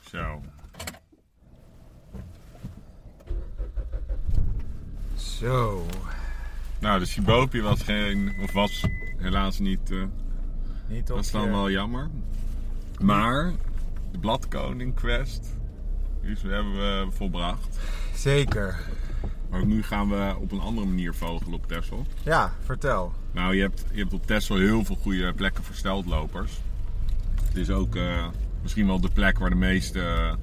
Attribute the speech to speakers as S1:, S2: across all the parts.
S1: Zo.
S2: Zo.
S1: Nou, de Shibopie was geen, of was helaas niet, eh,
S2: Niet op
S1: dat is dan
S2: je-
S1: wel jammer. Maar, de Bladkoning Quest, die is- hebben we volbracht.
S2: Zeker.
S1: Maar ook nu gaan we op een andere manier vogelen op Texel.
S2: Ja, vertel.
S1: Nou, je hebt, je hebt op Texel heel veel goede plekken voor steltlopers. Het is ook eh, misschien wel de plek waar de meeste, eh,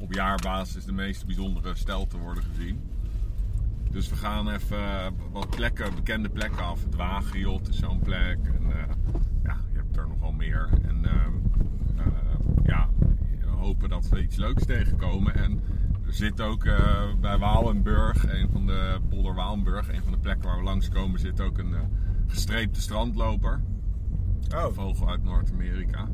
S1: op jaarbasis, de meeste bijzondere stelten worden gezien. Dus we gaan even eh, wat plekken, bekende plekken af. Het Wagenjot is zo'n plek. En, eh, ja, je hebt er nogal meer. En eh, eh, ja, we hopen dat we iets leuks tegenkomen. En er zit ook eh, bij Walenburg, een van de polder Walenburg, een van de plekken waar we langskomen, zit ook een eh, gestreepte strandloper. Een
S2: Oh,
S1: vogel uit Noord-Amerika.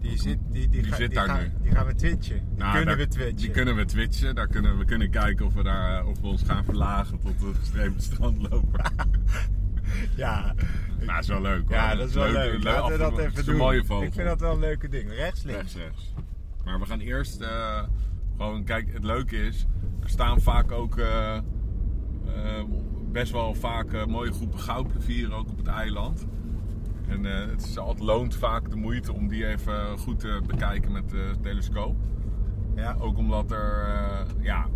S2: die zit, die, die,
S1: Die
S2: ga-
S1: zit
S2: die
S1: daar
S2: gaan,
S1: nu.
S2: Die gaan we twitchen. Die
S1: Nou,
S2: kunnen
S1: daar-
S2: we twitchen.
S1: Die kunnen we twitchen. Daar kunnen, we kunnen kijken of we, daar, eh, of we ons gaan verlagen tot de gestreepte strandloper.
S2: Ja,
S1: nou, dat is wel leuk hoor.
S2: ja dat is wel leuk. Laten we dat
S1: afgelopen-
S2: even
S1: het is
S2: doen.
S1: een mooie vogel.
S2: Ik vind dat wel een leuke ding. Rechts, links.
S1: Rechts, rechts. Maar we gaan eerst eh, gewoon, kijk, het leuke is, er staan vaak ook eh, eh, best wel vaak eh, mooie groepen goudplevieren ook op het eiland. En eh, het is altijd loont vaak de moeite om die even goed te bekijken met de telescoop.
S2: Ja.
S1: Ook omdat er eh, ja,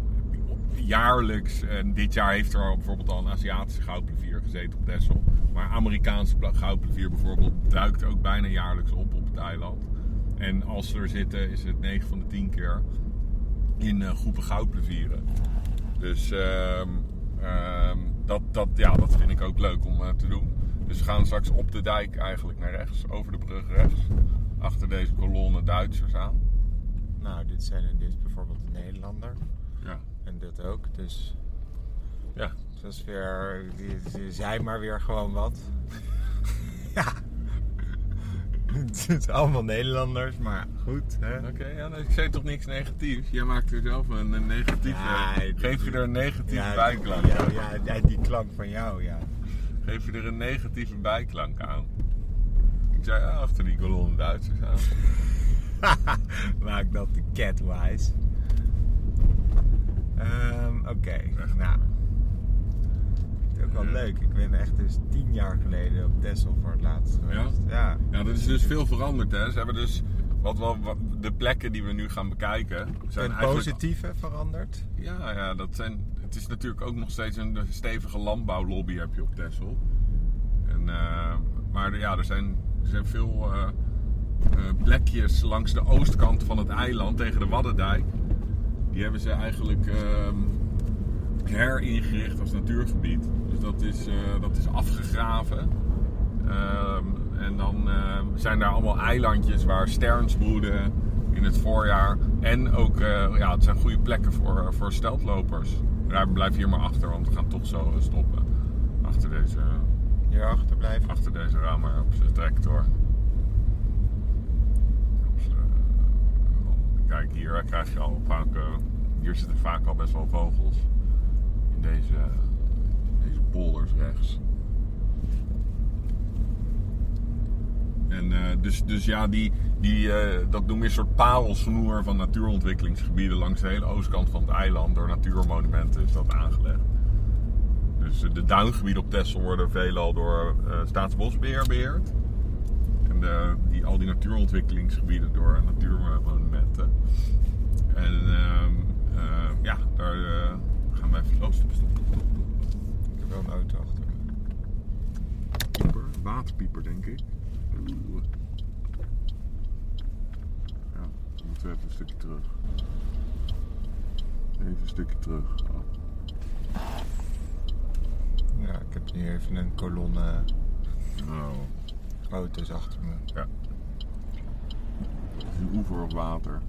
S1: jaarlijks, en dit jaar heeft er al bijvoorbeeld al een Aziatische goudplevier gezeten op Dessel. Maar Amerikaanse pla- goudplevier bijvoorbeeld duikt ook bijna jaarlijks op op het eiland. En als ze er zitten is het 9 van de 10 keer in eh, groepen goudplevieren. Dus ehm, ehm, dat, dat, ja, dat vind ik ook leuk om eh, te doen. Dus we gaan straks op de dijk eigenlijk naar rechts, over de brug rechts. Achter deze kolonne Duitsers aan.
S2: Nou, dit zijn en dit is bijvoorbeeld een Nederlander.
S1: Ja,
S2: En dit ook. Dus
S1: ja
S2: dat is weer. Die, die zijn maar weer gewoon wat. ja. Het zijn allemaal Nederlanders, maar goed. Hè?
S1: Oké, ja, nee, ik zei toch niks negatiefs? Jij maakt er zelf een, een negatief.
S2: Ja,
S1: eh,
S2: ik-
S1: geef je er een negatieve
S2: die-
S1: bijklank
S2: Ja,
S1: aan.
S2: ja, ja, die klank van jou, ja.
S1: Geef je er een negatieve bijklank aan. Ik zei ah, achter die kolonne Duitsers aan.
S2: Maak dat de catwise. Ehm, Oké,
S1: Echt.
S2: nou. Het is ook wel
S1: Ja.
S2: leuk. Ik ben echt dus tien jaar geleden op Texel voor het laatst geweest. Ja.
S1: Ja, er is dus veel veranderd hè. Ze hebben dus wat wel, wat- de plekken die we nu gaan bekijken. zijn
S2: Het
S1: eigenlijk-
S2: positieve veranderd.
S1: Ja, ja, dat zijn. Het is natuurlijk ook nog steeds een stevige landbouwlobby heb je op Texel. En, eh, maar ja, er zijn, er zijn veel eh, eh, plekjes langs de oostkant van het eiland tegen de Waddendijk. Die hebben ze eigenlijk ehm, heringericht als natuurgebied. Dus dat is, eh, dat is afgegraven. Ehm, en dan ehm, zijn daar allemaal eilandjes waar sterns broeden in het voorjaar. En ook, eh, ja, het zijn goede plekken voor, eh, voor steltlopers. Daar blijf hier maar achter, want we gaan toch zo eh, stoppen. Achter deze,
S2: Hierachter blijven.
S1: achter deze ramer op zijn tractor. Op z'n- Kijk, hier eh, krijg je al vaak, eh, hier zitten vaak al best wel vogels. In deze, deze polders rechts. En eh, dus, dus ja, die, die, eh, dat noem je een soort parelsnoer van natuurontwikkelingsgebieden langs de hele oostkant van het eiland. Door natuurmonumenten is dat aangelegd. Dus eh, de duingebieden op Texel worden veelal door eh, Staatsbosbeheer beheerd. En de, die, al die natuurontwikkelingsgebieden door natuurmonumenten. En ehm, eh, ja, daar eh, gaan we even... Oh, stop, stop, stop, stop.
S2: Ik heb wel een auto achter me.
S1: Pieper, waterpieper denk ik. Oeh. Ja, dan moeten we even een stukje terug. Even een stukje terug. Oh.
S2: Ja, ik heb nu even een kolonne
S1: Nou,
S2: auto's achter me.
S1: ja. Het is een oever op water.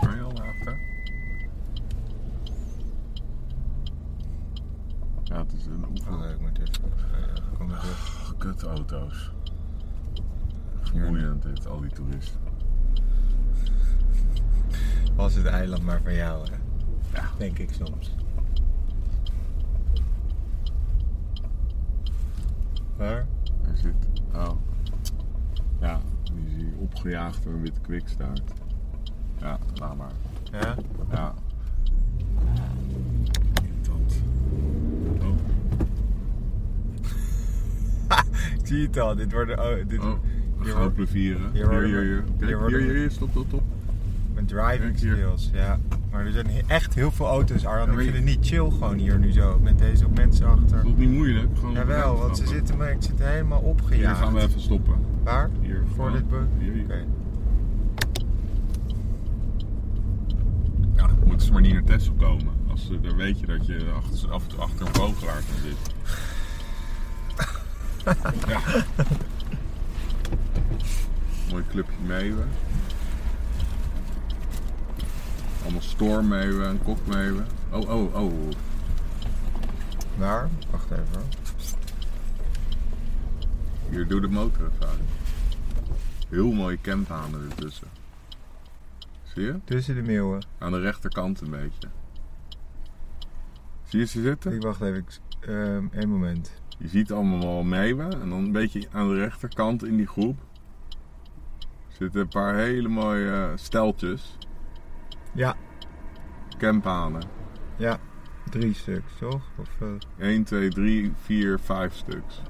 S1: Kan je al naar achter? Ja, het is een oever.
S2: Oh, ik moet even. eh, kom maar terug.
S1: Oh, kut auto's. Vermoeiend dit, al die toeristen.
S2: Was het eiland maar van jou, hè?
S1: Ja.
S2: Denk ik soms. Waar?
S1: Hij zit. Oh. Ja, die zie je opgejaagd door een witte kwikstaart. Ja, laat maar.
S2: Ja?
S1: Ja. Irritant. Oh.
S2: Ik zie het al, dit wordt... Oh, dit,
S1: Oh.
S2: hier
S1: Goud
S2: wordt-
S1: plevieren. Hier,
S2: hier
S1: hier,
S2: worden we-
S1: hier.
S2: hier
S1: Kijk,
S2: worden
S1: hier,
S2: we-
S1: hier, hier. Stop, stop, stop.
S2: Mijn driving
S1: Kijk hier.
S2: skills, ja. Maar er zijn he- echt heel veel auto's, Arjan.
S1: Ja,
S2: ik
S1: maar
S2: vind
S1: je-
S2: het niet chill gewoon hier nu zo, met deze mensen achter.
S1: Dat is niet moeilijk. Gewoon
S2: Jawel, want ze zitten maar, ik zit helemaal
S1: Hier
S2: opgejaagd.
S1: gaan we even stoppen.
S2: Waar?
S1: Hier.
S2: Voor
S1: gewoon.
S2: dit boek?
S1: Hier, hier.
S2: Oké.
S1: Ja, dan moeten ze maar niet naar Tesla komen. Als ze, dan weet je dat je achter, af en toe achter een vogelaar kan zitten. ja. Mooi clubje meeuwen. Allemaal stormmeeuwen en kokmeeuwen. Oh, oh, oh.
S2: Waar? Wacht even.
S1: Hier doet de motor het uit. Heel mooie kemphanen ertussen. Zie je?
S2: Tussen de meeuwen.
S1: Aan de rechterkant een beetje. Zie je ze zitten?
S2: Ik wacht even, Ehm één moment.
S1: Je ziet allemaal wel meeuwen. En dan een beetje aan de rechterkant in die groep zitten een paar hele mooie eh, steltjes.
S2: Ja.
S1: Kemphanen.
S2: Ja, drie stuks, toch? Of, eh,
S1: 1, 2, 3, 4, 5 stuks.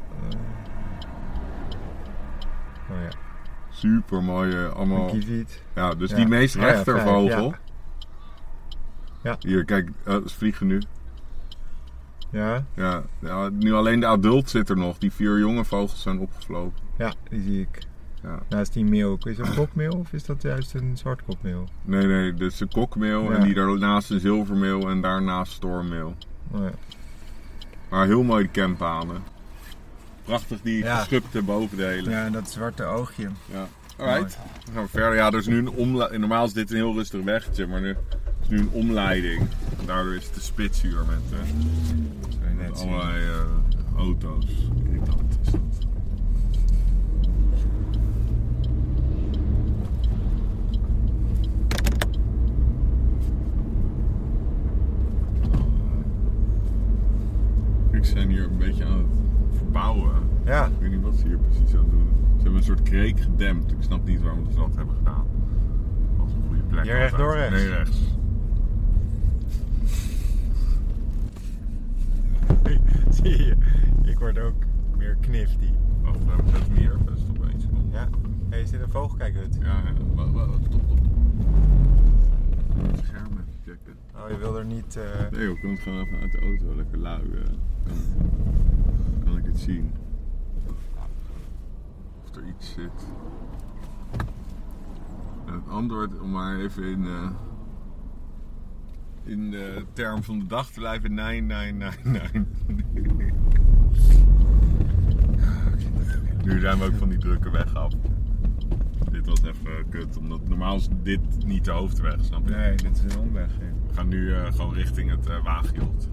S2: oh ja,
S1: Super mooie,
S2: een
S1: allemaal.
S2: kieviet.
S1: Ja, dus
S2: Ja.
S1: die meest
S2: Oh ja, vijf,
S1: rechtervogel.
S2: ja. Ja.
S1: Hier, kijk, eh, ze vliegen nu.
S2: Ja,
S1: Ja, ja, nu alleen de adult zit er nog. Die vier jonge vogels zijn opgevlogen.
S2: ja, die zie ik.
S1: Ja.
S2: Naast die meel. Is dat een kokmeel of is dat juist een zwartkopmeel?
S1: Nee, nee, dus de kokmeel
S2: Ja.
S1: en die daarnaast een zilvermeel en daarnaast stormmeel.
S2: Oh ja.
S1: Maar heel mooi de campanen. Prachtig die
S2: Ja.
S1: geschubte bovendelen. Ja.
S2: ja, dat zwarte oogje.
S1: Alright, dan gaan we verder. Ja, er is nu een omleiding. Normaal is dit een heel rustig wegje, maar nu is nu een omleiding. Daardoor is het de spitsuur met, eh,
S2: Kan je
S1: met
S2: net zien.
S1: allerlei eh, auto's. Irritant is dat. Kijk, ze zijn hier een beetje aan het verbouwen.
S2: Ja,
S1: Ik weet niet wat ze hier precies aan het doen. Ze hebben een soort kreek gedempt. Ik snap niet waarom ze dat hebben gedaan. Als een goede plek.
S2: Hier
S1: altijd.
S2: rechtdoor, rechts?
S1: Nee, rechts.
S2: zie je. Ik word ook weer knifty.
S1: Wacht, we hebben zes meer. Dat is toch wel iets.
S2: Ja. hey, is dit een vogelkijkhut?
S1: Ja, ja. Wa- wa- wa- Stop, stop. Het scherm even checken.
S2: Oh, je wil er niet... eh,
S1: Nee, we kunnen gewoon even uit de auto. Lekker lui. eh. Kan, kan ik het zien. Of er iets zit. En het antwoord, om maar even in, eh, in de term van de dag te blijven. Nee, nee, nee, nee. Nu zijn we ook van die drukke weg af. Dit was even kut, omdat normaal is dit niet de hoofdweg, snap je?
S2: Nee, dit is een omweg. hè.
S1: We gaan nu eh, gewoon richting het eh Waagjold.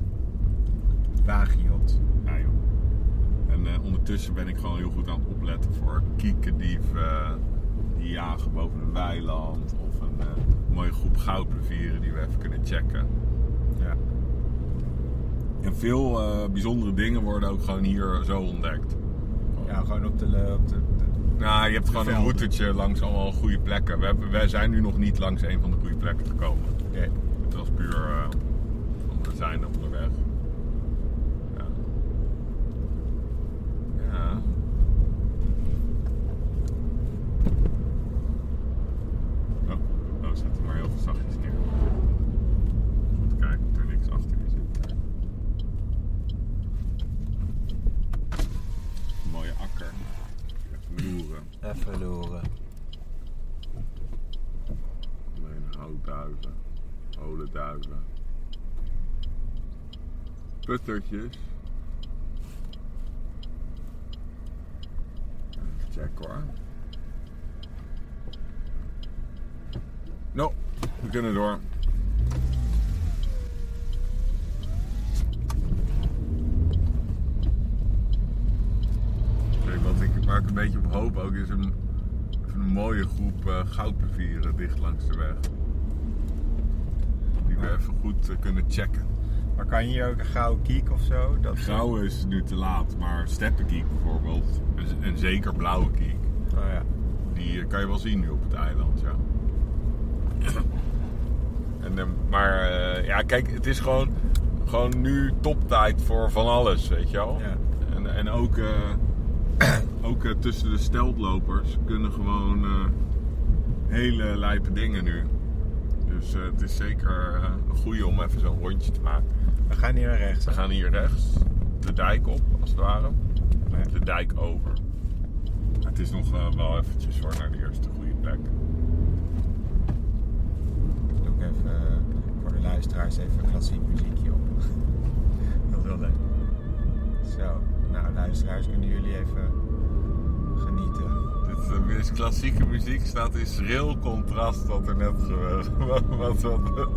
S2: Wagiot.
S1: Ja, joh. En eh, ondertussen ben ik gewoon heel goed aan het opletten voor kiekendieven die jagen boven een weiland. Of een eh, mooie groep goudplevieren die we even kunnen checken.
S2: Ja.
S1: En veel eh, bijzondere dingen worden ook gewoon hier zo ontdekt.
S2: Ja, gewoon op de... le- Op de, de-
S1: Nou, je hebt gewoon een
S2: Velden.
S1: routetje langs allemaal goede plekken. We, hebben, wij zijn nu nog niet langs een van de goede plekken gekomen.
S2: Oké.
S1: Het was puur eh, om te zijn onderweg. Ja. ja. Oh, oh, zet hem maar heel zachtjes neer. Goed kijken of er niks achter je zit. Mooie akker. Even loeren.
S2: Even loeren.
S1: Alleen houtduiven, olenduiven, puttertjes. Even check hoor. Nou, we kunnen door. Kijk, wat ik, waar ik een beetje op hoop ook is een, even een mooie groep eh goudplevieren dicht langs de weg. Die we even goed eh, kunnen checken.
S2: Maar kan je hier ook een gouden kiek of zo? Dat
S1: Grauwe is nu te laat, maar steppenkiek bijvoorbeeld, en- en zeker blauwe kiek,
S2: Oh ja.
S1: die eh, kan je wel zien nu op het eiland, ja. ehm, Maar eh, ja, kijk, het is gewoon, gewoon nu toptijd voor van alles, weet je wel.
S2: Ja.
S1: En, en ook, eh, ook eh, tussen de steltlopers kunnen gewoon eh, hele lijpe dingen nu. Dus eh, het is zeker eh, een goede om even zo'n rondje te maken.
S2: We gaan hier naar rechts.
S1: We gaan hier rechts de dijk op, als het ware. De dijk over. Het is nog eh, wel eventjes hoor, naar de eerste goede plek.
S2: Ik doe ook even eh, voor de luisteraars even een klassiek muziekje op. Dat is wel leuk. Zo, nou luisteraars, kunnen jullie even genieten.
S1: Dit is de meest klassieke muziek staat in schril contrast wat er net gebeurde. Wat, wat, wat.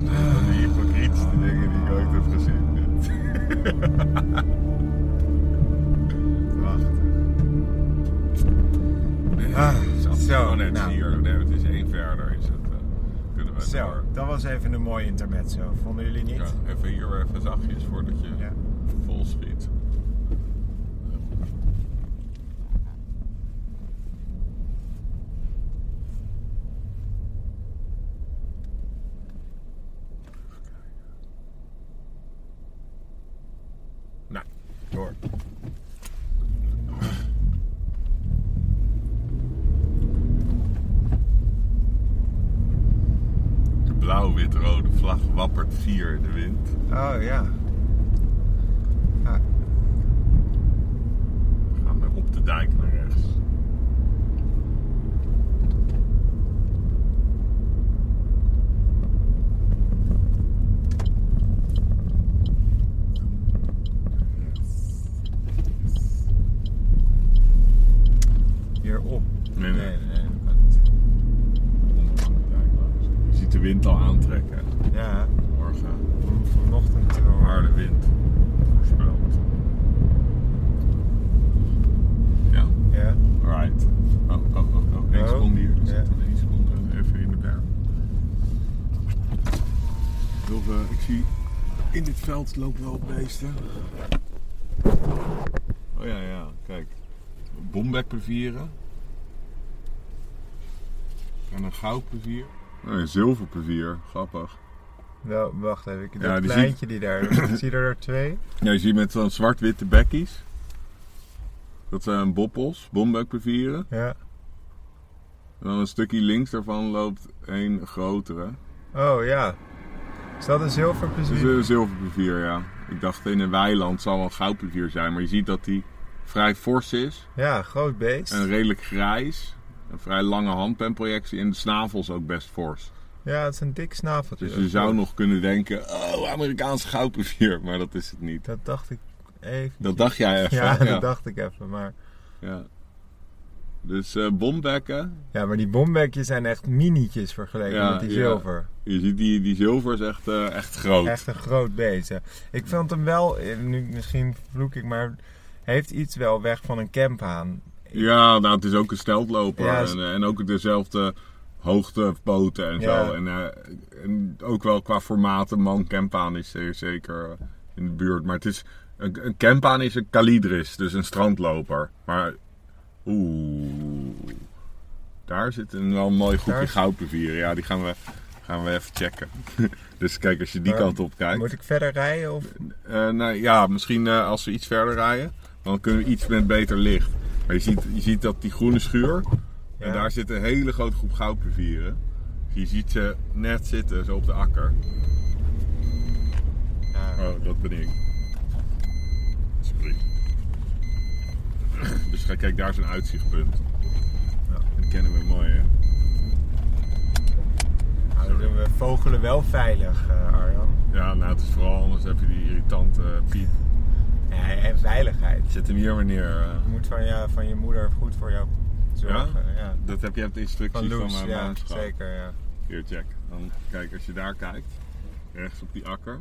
S1: Van die hypocrietste dingen die ik ooit heb gezien.
S2: Prachtig. Ah,
S1: Zo,
S2: zo,
S1: oh nee, het is
S2: nou.
S1: hier. Nee, het is één verder. Is het, eh, kunnen we
S2: Zo,
S1: door.
S2: dat was even een mooi intermezzo. Vonden jullie niet?
S1: Ja, even hier even zachtjes voordat je
S2: Ja.
S1: vol schiet. Nou, door. De blauw-wit-rode vlag wappert vier in de wind.
S2: Oh ja. Ah,
S1: Gaan we op de dijk naar rechts.
S2: hierop.
S1: Nee, nee.
S2: nee, dat-
S1: Onderaan de dijk langs. Je ziet de wind al aantrekken.
S2: Ja,
S1: Morgen.
S2: van- vanochtend eh,
S1: Harde wind. Voorspeld. Ja,
S2: Ja.
S1: right. Oh, oh, oh, oh. Eén
S2: Oh.
S1: seconde hier. We
S2: Ja.
S1: zitten één seconde even in de berg. Wilde, ik zie in dit veld lopen wel beesten. Oh ja, ja, kijk. Bombekplevieren. En een goudplevier. Nee, Oh, een zilverplevier. Grappig.
S2: Wel, wacht even. Ik, dat
S1: Ja, die
S2: kleintje die daar. zie je er twee?
S1: Ja, je ziet met zo'n zwart-witte bekkies. Dat zijn boppels, bombekplevieren.
S2: Ja.
S1: En dan een stukje links daarvan loopt één grotere.
S2: Oh ja. Is dat een
S1: Het is
S2: zilverplezier?
S1: een zilverplevier, ja. Ik dacht in een weiland zal wel een goudplevier zijn, maar je ziet dat die vrij fors is.
S2: Ja, groot beest.
S1: En redelijk grijs. Een vrij lange handpenprojectie en de snavels ook best fors.
S2: Ja, het is een dik snaveltje.
S1: Dus je zou nog kunnen denken, oh, Amerikaans goudplevier, maar dat is het niet.
S2: Dat dacht ik even.
S1: Dat dacht jij even.
S2: ja,
S1: ja.
S2: dat dacht ik even. Maar...
S1: Ja. Dus eh, bombekken.
S2: Ja, maar die bombekjes zijn echt minietjes vergeleken
S1: Ja,
S2: met die
S1: ja.
S2: zilver.
S1: Je ziet die, die zilver is echt, eh, echt groot.
S2: Echt een groot beest. hè. Ik vond hem wel, eh, nu, misschien vloek ik, maar heeft iets wel weg van een camphaan.
S1: Ja, nou, het is ook een steltloper.
S2: Ja, is-
S1: en, eh, en ook dezelfde hoogtepoten en
S2: Ja.
S1: zo. En, eh, en ook wel qua formaat, een man campaan is er zeker eh, in de buurt. Maar het is, een, een campaan is een kalidris, dus een strandloper. Maar, oeh, daar zit een wel een mooi groepje
S2: Daar is-
S1: goudplevieren. Ja, die gaan we, gaan we even checken. dus kijk, als je die
S2: Maar
S1: kant op kijkt.
S2: Moet ik verder rijden? Of?
S1: Eh, nou ja, misschien eh, als we iets verder rijden, dan kunnen we iets met beter licht. Maar je ziet, je ziet dat die groene schuur, en
S2: Ja.
S1: daar zit een hele grote groep goudplevieren. Dus je ziet ze net zitten, zo op de akker.
S2: Ja.
S1: Oh, dat ben ik. Alsjeblieft. Dus ga- kijk, daar is een uitzichtpunt.
S2: Ja.
S1: Dat kennen we mooi, hè?
S2: Nou, dan doen we vogelen wel veilig, eh, Arjan.
S1: Ja, nou, het is vooral anders heb je die irritante piep.
S2: Ja, en veiligheid.
S1: Zet hem hier maar neer. eh.
S2: Je moet van je, van je moeder goed voor jou zorgen. Ja?
S1: Dat heb je hebt de
S2: Van
S1: instructies van, eh,
S2: Loes,
S1: mijn
S2: ja,
S1: maamschap.
S2: zeker. Ja.
S1: Hier, check. Dan, kijk, als je daar kijkt, rechts op die akker,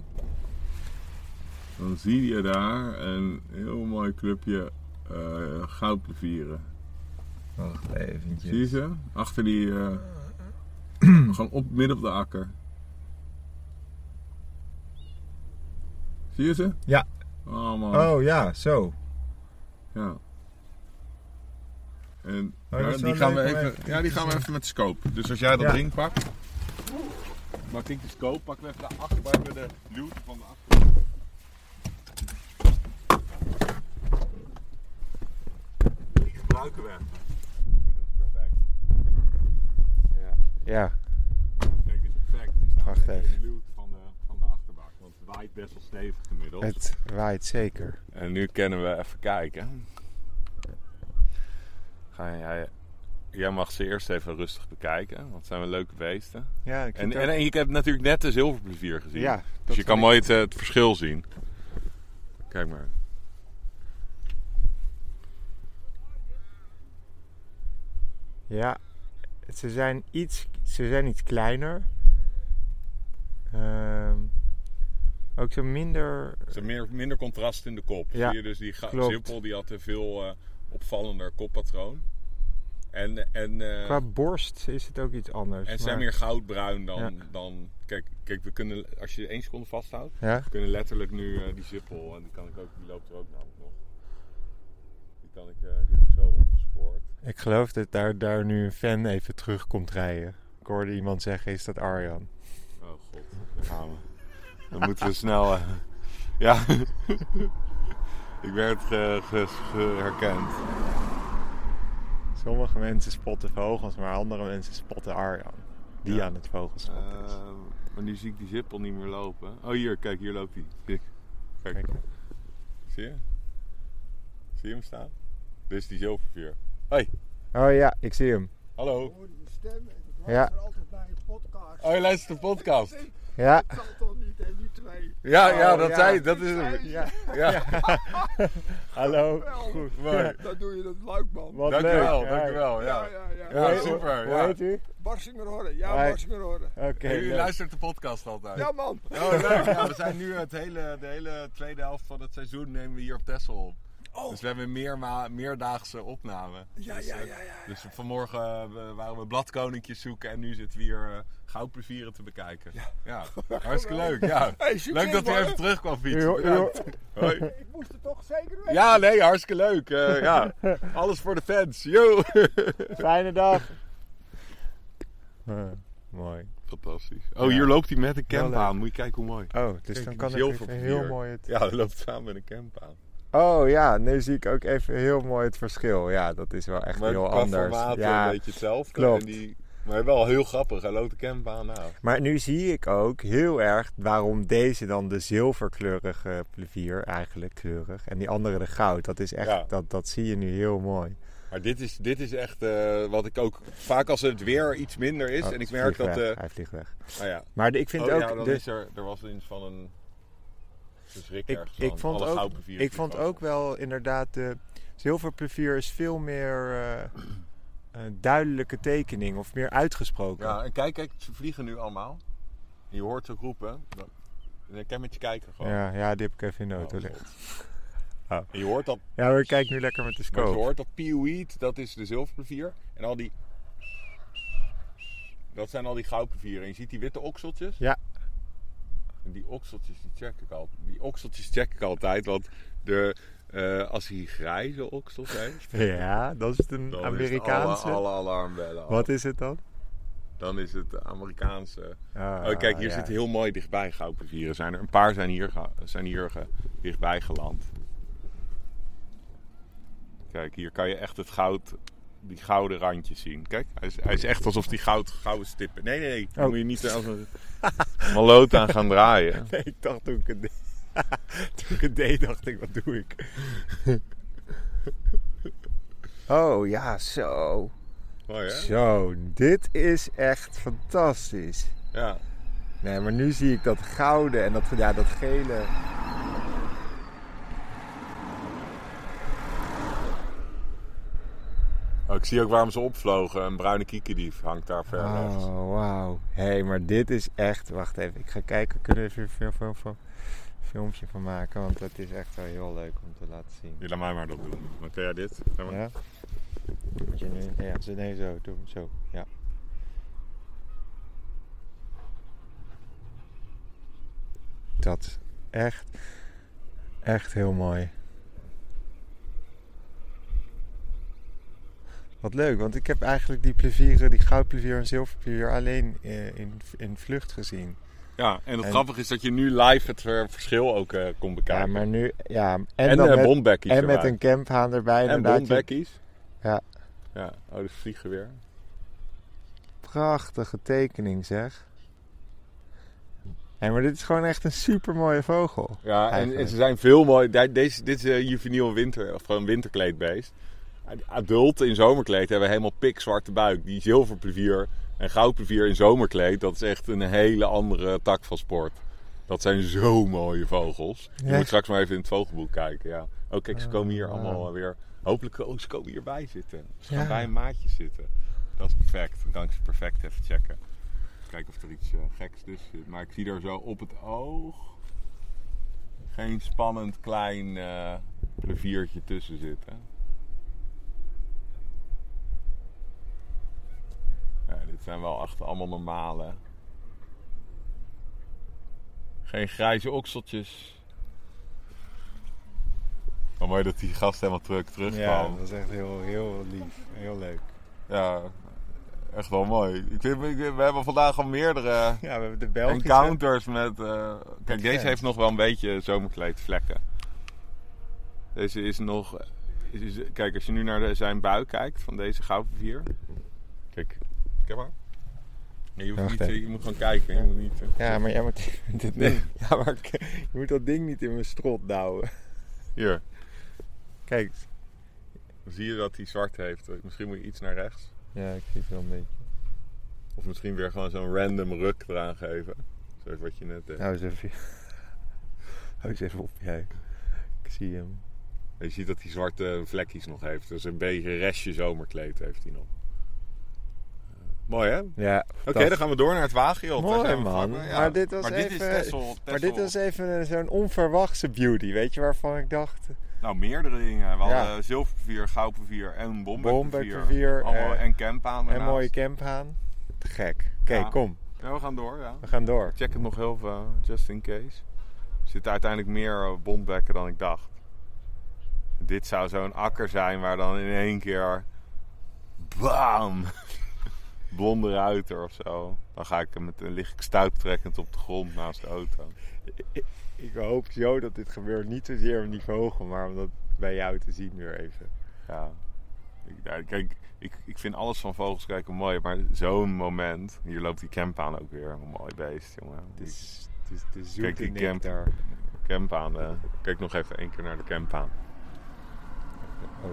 S1: dan zie je daar een heel mooi clubje eh goudplevieren.
S2: Wacht eventjes.
S1: Zie je ze? Achter die, eh, Gewoon op midden op de akker. Zie je ze?
S2: Ja.
S1: Oh man.
S2: Oh ja, zo.
S1: Ja. En
S2: Oh, dat
S1: ja,
S2: is wel
S1: die gaan we
S2: leuk om
S1: even,
S2: even
S1: ja, die gaan we even met de scope. Dus als jij dat
S2: Ja.
S1: ding pakt, maak ik de scope, pakken we even de achter, waar we de luwte van de achter. Die gebruiken we. Dat is perfect.
S2: Ja. ja.
S1: Kijk, dit is perfect. Die staat
S2: Wacht
S1: tegen
S2: even.
S1: de luwte van de, van de achterbak. Want het waait best wel stevig gemiddeld.
S2: Het waait zeker.
S1: En nu kunnen we even kijken. Ga jij, jij mag ze eerst even rustig bekijken, want het zijn wel leuke beesten.
S2: Ja, ik
S1: En,
S2: vind
S1: en,
S2: het ook-
S1: en ik heb natuurlijk net de zilverplezier gezien.
S2: Ja, dat
S1: dus je
S2: zag
S1: kan
S2: ik.
S1: mooi het, eh, het verschil zien. Kijk maar.
S2: Ja, ze zijn iets, ze zijn iets kleiner. Ehm, ook zo minder.
S1: Er is meer, minder contrast in de kop.
S2: Ja,
S1: Zie je dus die ga-
S2: klopt.
S1: zippel die had een veel eh, opvallender koppatroon. En, en, eh,
S2: Qua borst is het ook iets anders.
S1: en ze zijn
S2: maar-
S1: meer goudbruin dan...
S2: Ja.
S1: dan kijk, kijk, we kunnen, als je één seconde vasthoudt,
S2: Ja?
S1: We kunnen letterlijk nu eh, die zippel, en die, kan ik ook, die loopt er ook namelijk nog. Die, kan ik, eh, die heb ik zo opgespoord.
S2: Ik geloof dat daar, daar nu een fan even terug komt rijden. Ik hoorde iemand zeggen: Is dat Arjan?
S1: Oh god, daar gaan we. Dan moeten we snel. eh, ja. ik werd eh, ge- ge- herkend.
S2: Sommige mensen spotten vogels, maar andere mensen spotten Arjan. Die
S1: Ja.
S2: aan het vogelspotten is.
S1: Ehm, maar nu zie ik die zippel niet meer lopen. Oh hier, kijk, hier loopt hij. Kijk.
S2: Kijk.
S1: kijk. Zie je? Zie je hem staan? Dit is die zilverveer. Hoi,
S2: Oh ja, ik zie hem.
S1: hallo.
S3: hoor die stem en ik
S2: Ja.
S3: luister altijd naar je podcast.
S1: Oh, je luistert de podcast.
S2: Ja.
S3: Dat zal toch niet, hè, die twee.
S1: Ja, ja,
S2: Oh,
S1: dat
S2: ja.
S1: zei dat is
S3: Zijn
S1: hem.
S3: ze
S2: Ja.
S1: Ja.
S2: Hallo.
S3: wel?
S2: Goed.
S1: Mooi.
S3: Dan doe je dat leuk, man.
S2: Wat
S1: Dankjewel,
S2: leuk.
S1: dankjewel.
S3: Ja,
S1: Ja.
S3: ja, ja.
S1: Ja,
S2: Hoe-
S1: super,
S2: Hoe
S1: ja.
S2: heet u?
S3: Barsingerhoorn. Ja,
S2: Hoi.
S3: Barsingerhoorn.
S2: Oké.
S1: En jullie
S2: leuk.
S1: luistert de podcast altijd.
S3: Ja, man.
S1: Oh, leuk. Ja, we zijn nu het hele, de hele tweede helft van het seizoen nemen we hier op Texel op.
S3: Oh.
S1: Dus we hebben een meerma- meerdaagse opname.
S3: Ja,
S1: dus,
S3: ja,
S1: eh,
S3: ja, ja.
S1: Dus vanmorgen eh, we- waren we bladkoninkjes zoeken en nu zitten we hier eh, goudplezieren te bekijken. Ja. Hartstikke leuk, ja.
S3: Hey, succes,
S1: leuk dat u
S3: man.
S1: even terug kwam
S2: U-
S1: fietsen.
S2: u-
S1: Bedankt. Hoi.
S3: Ik moest het toch zeker weten.
S1: Ja, nee, hartstikke leuk. Eh, ja. Alles voor de fans. Yo.
S2: Fijne dag. Eh, mooi.
S1: Fantastisch. Oh,
S2: Ja.
S1: hier loopt hij met een
S2: Heel
S1: camp
S2: leuk.
S1: aan. Moet je kijken hoe mooi.
S2: Oh, dus
S1: Kijk,
S2: dan
S1: die
S2: kan ik even
S1: zilverpapier.
S2: heel mooi het...
S1: Ja, hij loopt samen met een camp aan.
S2: Oh ja, nu zie ik ook even heel mooi het verschil. Ja, dat is wel echt
S1: Maar
S2: heel
S1: qua
S2: anders.
S1: formaat
S2: Ja,
S1: een beetje hetzelfde.
S2: klopt.
S1: En die, maar wel heel grappig. Hij loopt de nou. campbaan na.
S2: maar nu zie ik ook heel erg waarom deze dan de zilverkleurige plevier eigenlijk kleurig en die andere de goud. Dat is echt,
S1: Ja.
S2: dat, dat zie je nu heel mooi.
S1: Maar dit is, dit is echt eh, wat ik ook... Vaak als het weer iets minder is...
S2: Oh,
S1: en ik
S2: hij
S1: merk
S2: vliegt
S1: dat...
S2: weg.
S1: eh
S2: Hij vliegt weg.
S1: nou ja.
S2: Maar de- ik vind
S1: Oh
S2: ook...
S1: ja, dan
S2: de-
S1: is er... Er was iets van een... Verschrik
S2: ik,
S1: ergens
S2: ik
S1: van.
S2: vond,
S1: Alle
S2: ook,
S1: goudplevieren
S2: ik
S1: vliegen
S2: vond ook wel inderdaad, de zilverplevier is veel meer eh, een duidelijke tekening of meer uitgesproken.
S1: Ja, en kijk, kijk. Ze vliegen nu allemaal. En je hoort ze roepen. Dan- En ik kan met je kijken gewoon.
S2: ja, ja, die heb ik even in de auto
S1: Oh,
S2: liggen.
S1: God.
S2: Oh.
S1: En je hoort dat...
S2: Ja, maar kijk nu lekker met de
S1: Maar je
S2: scope.
S1: hoort dat pieweed, dat is de zilverplevier. En al die... Dat zijn al die goudplevieren. En je ziet die witte okseltjes.
S2: Ja.
S1: En die okseltjes, die check ik altijd. Die okseltjes check ik altijd, want de, eh, als hij grijze oksels heeft...
S2: Ja, dat is het
S1: dan
S2: een
S1: is het
S2: Amerikaanse.
S1: alle, alle alarmbellen. af.
S2: Wat is het dan?
S1: Dan is het de Amerikaanse...
S2: Ah,
S1: oh, kijk, hier
S2: ja.
S1: zit heel mooi dichtbij goudplevieren. Zijn er, een paar zijn hier, ge- zijn hier ge- dichtbij geland. Kijk, hier kan je echt het goud... Die gouden randjes zien. Kijk, hij is, hij is echt alsof die goud, gouden stippen. Nee, nee, nee. Dan
S2: Oh.
S1: moet je niet als een maloot aan gaan draaien.
S2: Nee, ik dacht toen ik het deed. toen ik het deed, dacht ik, wat doe ik? oh ja, zo.
S1: Mooi, hè?
S2: Zo, dit is echt fantastisch.
S1: Ja.
S2: Nee, maar nu zie ik dat gouden en dat, ja, dat gele.
S1: Oh, ik zie ook waarom ze opvlogen. Een bruine kiekendief hangt daar ver rechts.
S2: Oh, wauw. Hé, hey, maar dit is echt... Wacht even, ik ga kijken. We kunnen er even een film- film- filmpje van maken. Want het is echt wel heel leuk om te laten zien.
S1: Ja, laat mij maar dat doen. Maar kun jij dit? Laat maar-
S2: Ja? Moet je nu... Ja, zo- nee, zo. Doe hem zo. Ja. dat echt, echt heel mooi. Wat leuk, want ik heb eigenlijk die plevieren, die goudplevier en zilverplevier alleen eh, in, in vlucht gezien.
S1: Ja, en het
S2: En-
S1: grappige is dat je nu live het eh, verschil ook eh, kon
S2: Ja,
S1: bekijken.
S2: maar nu, ja. En,
S1: en
S2: dan
S1: eh,
S2: met,
S1: bombekkies
S2: en met
S1: erbij.
S2: een camphaan erbij.
S1: En
S2: inderdaad. Je-
S1: bombekkies.
S2: Ja.
S1: Ja, oh, dat vliegen weer.
S2: Prachtige tekening zeg. Hé, maar dit is gewoon echt een super mooie vogel.
S1: Ja, en,
S2: Eigenlijk.
S1: en ze zijn veel mooi. daar- Deze, dit is een juveniel winter, of gewoon winterkleedbeest. Adult in zomerkleed hebben helemaal pikzwarte buik. Die zilverplevier en goudplevier in zomerkleed, dat is echt een hele andere tak van sport. Dat zijn zo mooie vogels. Je
S2: Ja.
S1: moet straks maar even in het vogelboek kijken. Ja. Oh, kijk, ze komen hier
S2: Ah.
S1: allemaal weer. Hopelijk oh, ze komen hierbij zitten. Ze
S2: Ja.
S1: gaan bij een maatje zitten. Dat is perfect. Dan kan ik ze perfect even checken. Kijken of er iets eh, geks tussen zit. Maar ik zie er zo op het oog geen spannend klein eh pleviertje tussen zitten. Ja, dit zijn wel echt allemaal normale. Geen grijze okseltjes. Maar mooi dat die gast helemaal terug
S2: Ja,
S1: terugkwam.
S2: dat is echt heel, heel lief. Heel leuk.
S1: Ja, echt wel mooi. Ik vind, ik- we hebben vandaag al meerdere
S2: Ja, we hebben de Belgische.
S1: encounters met... eh, kijk, deze
S2: vet.
S1: heeft nog wel een beetje zomerkleedvlekken. Deze is nog... is- is- kijk, als je nu naar de- zijn buik kijkt van deze goudvier. Kijk, kijk maar. Nee, je, hoeft
S2: Wacht
S1: niet,
S2: even.
S1: je moet gewoon kijken. Je moet niet, eh,
S2: Ja, maar jij moet dit
S1: Nee.
S2: ding- Ja, maar ik- je moet dat ding niet in mijn strot douwen.
S1: Hier,
S2: Kijk.
S1: dan zie je dat hij zwart heeft. eh, Misschien moet je iets naar rechts.
S2: Ja, ik zie het wel een beetje.
S1: Of misschien weer gewoon zo'n random ruk eraan geven. Zoals wat je net eh, deed.
S2: Hou eens Nou, even. Hou eens even op, jij. Ik zie hem.
S1: Je ziet dat hij zwarte vlekjes nog heeft. Dus een beetje restje zomerkleed heeft hij nog. Eh, Mooi hè? Oké,
S2: Ja.
S1: dan gaan we door naar het Wagiel.
S2: Mooi, man. Maar dit was even- Maar dit was even eh, zo'n onverwachte beauty, weet je, waarvan ik dacht...
S1: Nou, meerdere dingen. We
S2: Ja.
S1: hadden zilvervier, goudvier en bombervier.
S2: Bombervier,
S1: Allemaal
S2: eh,
S1: en campaan
S2: En
S1: daarnaast.
S2: mooie camphaan. Te gek. Oké,
S1: Ja.
S2: kom.
S1: Ja, we gaan door, ja.
S2: We gaan door.
S1: Ik check het nog heel veel, just in case. Er zitten uiteindelijk meer eh, bondbekken dan ik dacht. Dit zou zo'n akker zijn waar dan in één keer... Bam! Blonde ruiter of zo. Dan ga ik hem met, dan lig ik stuiptrekkend op de grond naast de auto.
S2: Ik hoop zo dat dit gebeurt. Niet zozeer om die vogel, maar om dat bij jou te zien weer even.
S1: Ja. Ik, ja, kijk, ik, ik vind alles van vogels kijken mooi, maar zo'n moment... Hier loopt die campaan ook weer. Een mooi beest, jongen.
S2: Het is, het is de
S1: Kijk,
S2: zoete
S1: die camp,
S2: nectar.
S1: campaan. eh, kijk nog even één keer naar de campaan.
S2: Oh.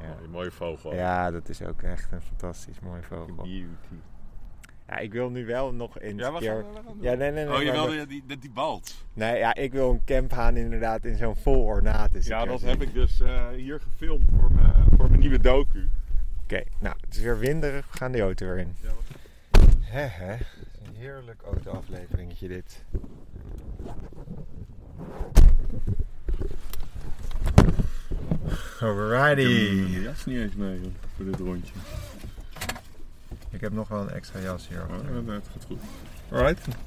S2: Ja.
S1: Mooi, mooie vogel.
S2: ja, dat is ook echt een fantastisch mooi vogel.
S1: Beauty.
S2: Ja, ik wil nu wel nog eens
S1: Ja,
S2: een
S1: we
S2: keer...
S1: gaan- we gaan
S2: ja, nee, nee, nee.
S1: Oh, je
S2: maar
S1: wilde
S2: dat-
S1: die, die, die balt.
S2: Nee, ja, ik wil een camphaan inderdaad in zo'n vol ornaat. eens een
S1: Ja,
S2: keer
S1: dat
S2: zien.
S1: heb ik dus eh, hier gefilmd voor mijn, voor mijn nieuwe docu.
S2: Oké, nou, het is weer winderig. We gaan de auto weer in. Hè, hè. Een heerlijk autoafleveringetje dit. Alrighty.
S1: eh, jas niet eens mee voor dit rondje.
S2: Ik heb nog wel een extra jas hier. achter.
S1: Oh, het gaat goed. Alright.
S2: Als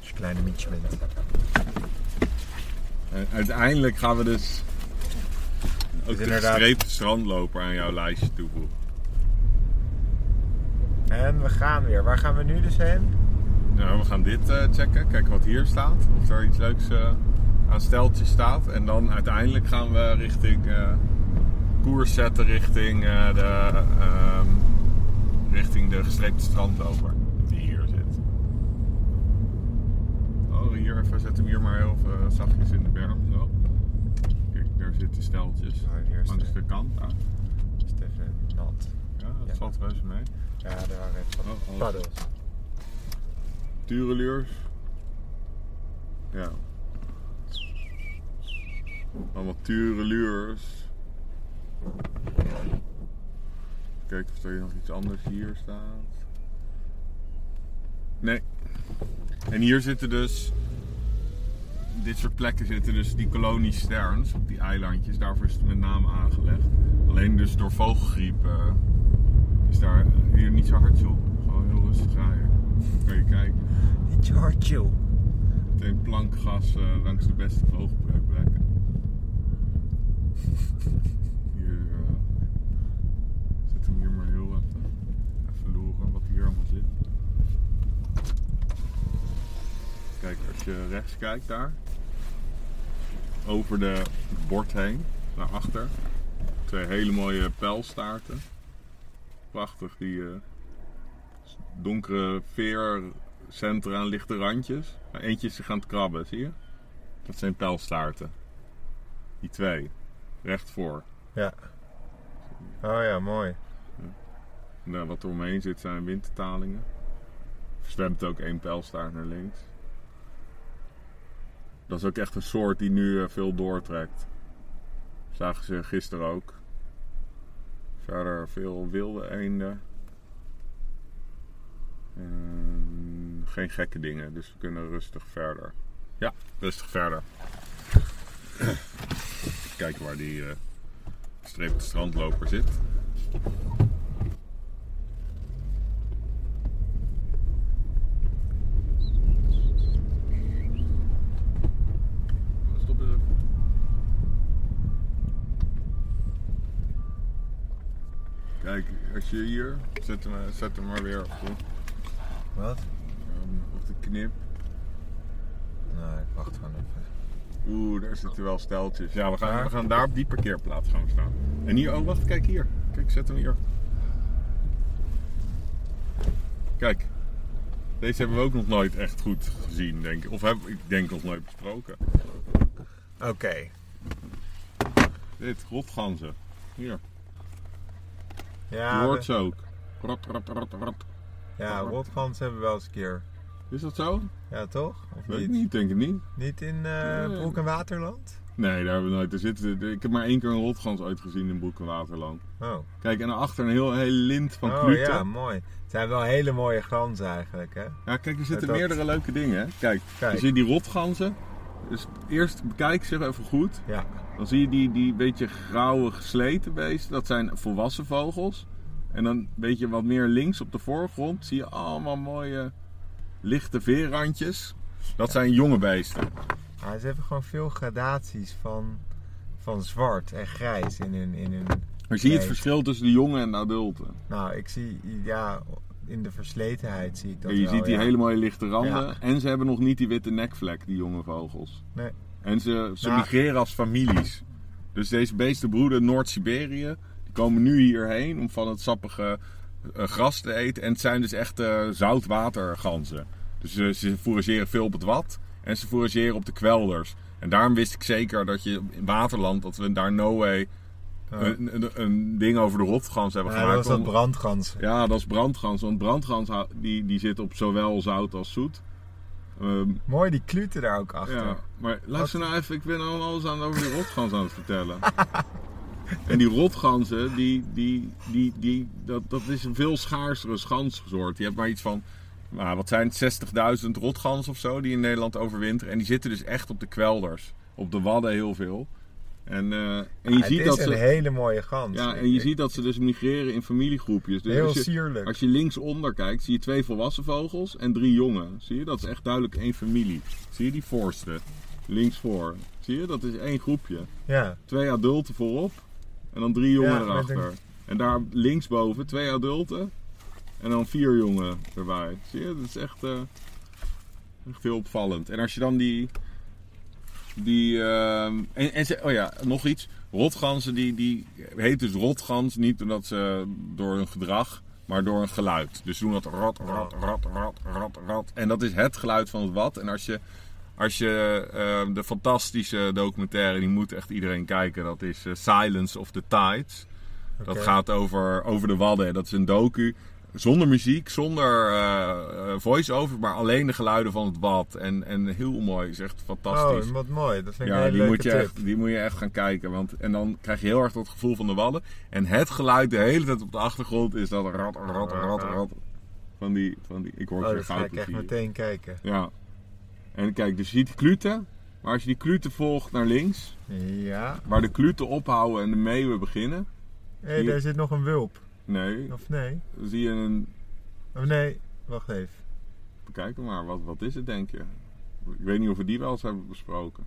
S2: je een kleine mietje bent.
S1: uiteindelijk gaan we dus ook de
S2: inderdaad-
S1: streepte strandloper aan jouw lijstje toevoegen.
S2: En we gaan weer. Waar gaan we nu dus heen?
S1: Nou, we gaan dit eh, checken, kijken wat hier staat. Of er iets leuks eh, aan steltjes staat. En dan uiteindelijk gaan we richting eh, koers zetten richting, eh, de, ehm, richting de gestreepte strandloper die hier zit. Oh, hier even, zet hem hier maar heel eh, zachtjes in de berm. Zo. Kijk, daar zitten steltjes.
S2: Oh, hier is
S1: Langs
S2: de-
S1: de kant. Ah,
S2: Is het even nat.
S1: ja, dat
S2: Ja.
S1: valt reuze mee.
S2: Ja, daar waren even wat
S1: Oh, oh.
S2: paddels.
S1: Tureluurs. Ja. Allemaal tureluurs. Kijken of er nog iets anders hier staat. Nee. En hier zitten dus... Dit soort plekken zitten dus die kolonies sterns op die eilandjes. Daarvoor is het met name aangelegd. Alleen dus door vogelgriep eh, is daar hier niet zo hard op. Gewoon heel rustig rijden. Kun je kijken.
S2: Niet zo hard chill.
S1: Meteen plankgas eh, langs de beste vogelbruikplekken. Hier eh, zit hem hier maar heel wat eh, verloren wat hier allemaal zit. Kijk, als je rechts kijkt daar, over de het bord heen, daarachter, twee hele mooie pijlstaarten. Prachtig, die eh, donkere veercentra en lichte randjes. Maar eentje is zich aan het krabben, zie je? Dat zijn pijlstaarten. Die twee. Recht voor.
S2: Ja. Oh ja, mooi.
S1: Nou, wat er omheen zit zijn windtalingen. Er zwemt ook één pijlstaart naar links. Dat is ook echt een soort die nu eh, veel doortrekt. Zagen ze gisteren ook. Verder veel wilde eenden. Ehm, geen gekke dingen, dus we kunnen rustig verder. Ja, rustig verder. Even kijken waar die eh streepte strandloper zit. Stop eens even. Kijk, als je hier. Zet hem, eh, zet hem maar weer op, hoor.
S2: Wat?
S1: Ehm, op de knip.
S2: Nou, ik wacht gewoon even.
S1: Oeh, daar zitten wel steltjes. Ja, we gaan, we gaan daar op die parkeerplaats gaan staan. En hier, oh wacht, kijk hier. Kijk, zet hem hier. Kijk, deze hebben we ook nog nooit echt goed gezien, denk ik. Of heb ik denk nog nooit besproken.
S2: Oké.
S1: Dit, rotganzen. Hier, je
S2: Ja, we-
S1: hoort ze ook. Rot, rot, rot, rot.
S2: ja, rotgans hebben we wel eens een keer.
S1: Is dat zo?
S2: Ja, toch? Of
S1: Weet
S2: niet?
S1: ik niet, denk ik niet.
S2: Niet in eh
S1: Nee.
S2: Broek en Waterland?
S1: Nee, daar hebben we nooit. Er zitten, ik heb maar één keer een rotgans ooit gezien in Broek en Waterland.
S2: Oh,
S1: Kijk, en daarachter een heel, heel lint van
S2: oh
S1: kluten.
S2: ja, mooi. Het zijn wel hele mooie ganzen eigenlijk, hè?
S1: Ja, kijk, er zitten
S2: Dat-
S1: meerdere leuke dingen. Hè? Kijk,
S2: Kijk.
S1: je ziet die rotganzen. Dus eerst bekijk ze even goed.
S2: Ja.
S1: Dan zie je die, die beetje grauwe gesleten beesten. Dat zijn volwassen vogels. En dan een beetje wat meer links op de voorgrond zie je allemaal mooie lichte veerrandjes. Dat zijn jonge beesten.
S2: Ah, ze hebben gewoon veel gradaties van, van zwart en grijs in hun, in hun...
S1: Maar zie je het
S2: Nee.
S1: verschil tussen de jonge en de adulten.
S2: Nou, ik zie, ja, in de versletenheid zie ik dat
S1: En je
S2: wel,
S1: ziet die
S2: ja.
S1: hele mooie lichte randen.
S2: Ja.
S1: En ze hebben nog niet die witte nekvlek, die jonge vogels.
S2: Nee.
S1: En ze, ze
S2: Nou.
S1: migreren als families. Dus deze beesten broeden Noord-Siberië. Die komen nu hierheen om van het sappige eh, gras te eten. En het zijn dus echt eh, zoutwaterganzen. Dus eh, ze forageren veel op het wat. En ze forageren op de kwelders. En daarom wist ik zeker dat je in Waterland, dat we daar no way een, een, een ding over de rotgans hebben
S2: Ja, dat
S1: gemaakt.
S2: was dat
S1: om-
S2: brandgans.
S1: ja, dat is brandgans. Want brandgans hou- die, die zit op zowel zout als zoet. Ehm,
S2: Mooi, die kluten daar ook achter.
S1: ja, maar luister nou even. Ik ben al alles aan over die rotgans aan het vertellen. en die rotganzen, die, die, die, die, dat, dat is een veel schaarsere schanssoort. Je hebt maar iets van... Nou, wat zijn het? 60.000 rotgans of zo die in Nederland overwinteren. En die zitten dus echt op de kwelders. Op de wadden heel veel. En, eh, en je
S2: Ah, het
S1: ziet
S2: is
S1: dat
S2: een
S1: ze...
S2: hele mooie gans.
S1: Ja,
S2: Ik-
S1: en je
S2: ik-
S1: ziet dat ze dus migreren in familiegroepjes. Dus
S2: Heel
S1: als je,
S2: sierlijk.
S1: Als je linksonder kijkt, zie je twee volwassen vogels en drie jongen. Zie je? Dat is echt duidelijk één familie. Zie je die voorste? Links voor. Zie je? Dat is één groepje.
S2: Ja,
S1: Twee adulten voorop en dan drie jongen
S2: Ja, met
S1: erachter.
S2: een-
S1: En daar linksboven twee adulten en dan vier jongen erbij. Zie je? Dat is echt, eh, echt heel opvallend. En als je dan die... Die, ehm, en, en ze- oh ja, nog iets. Rotganzen, die, die heet dus rotgans. Niet omdat ze door hun gedrag, maar door een geluid. Dus ze doen dat rat, rat, rat, rat, rat, rat. En dat is het geluid van het wat. En als je, als je ehm, de fantastische documentaire, die moet echt iedereen kijken. Dat is eh, Silence of the Tides. Dat
S2: Oké.
S1: gaat over, over de wadden. Dat is een docu. Zonder muziek, zonder eh, eh, voice-over, maar alleen de geluiden van het bad. En, en heel mooi, is echt fantastisch.
S2: oh, wat mooi. Dat vind ik een
S1: Ja,
S2: hele
S1: die
S2: leuke
S1: moet, je
S2: tip.
S1: echt, die moet je echt gaan kijken. Want, en dan krijg je heel erg dat gevoel van de wadden. En het geluid de hele tijd op de achtergrond is dat rat, rat, rat, rat. Van die, van die, ik hoor
S2: Oh,
S1: geen
S2: dat ga ik echt
S1: goudplezier.
S2: meteen kijken.
S1: Ja. En kijk, dus je ziet die kluten. Maar als je die kluten volgt naar links,
S2: Ja.
S1: waar de kluten ophouden en de meeuwen beginnen.
S2: Hé, hey,
S1: Hier.
S2: daar zit nog een wulp.
S1: Nee,
S2: Of nee?
S1: dan zie je een,
S2: Of nee, wacht even.
S1: Bekijk hem maar, wat, wat is het denk je? Ik weet niet of we die wel eens hebben besproken.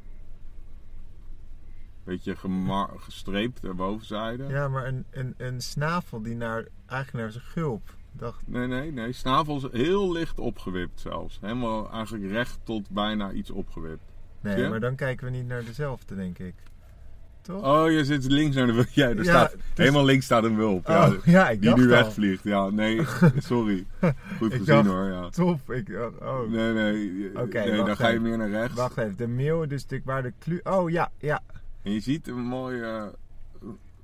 S1: Beetje gemar- gestreept de bovenzijde.
S2: Ja, maar een, een, een snavel die naar, eigenlijk naar zijn gulp. Dacht,
S1: Nee, nee, nee. Snavel is heel licht opgewipt zelfs. Helemaal eigenlijk recht tot bijna iets opgewipt.
S2: nee,
S1: Ja?
S2: maar dan kijken we niet naar dezelfde, denk ik. Toch?
S1: Oh, je zit links naar de wulp. Ja, er
S2: Ja,
S1: staat,
S2: dus-
S1: helemaal links staat een wulp. Ja,
S2: Oh, ja, ik
S1: die
S2: dacht
S1: nu
S2: al.
S1: wegvliegt. Ja, nee, sorry. Goed
S2: Ik
S1: gezien
S2: dacht-
S1: hoor, ja.
S2: Top, ik dacht, oh.
S1: Nee, nee. eh,
S2: Oké,
S1: nee
S2: wacht
S1: dan ga je
S2: even.
S1: meer naar rechts.
S2: Wacht even, de meeuw is dus natuurlijk waar de klu... Oh ja, ja.
S1: En je ziet een mooie...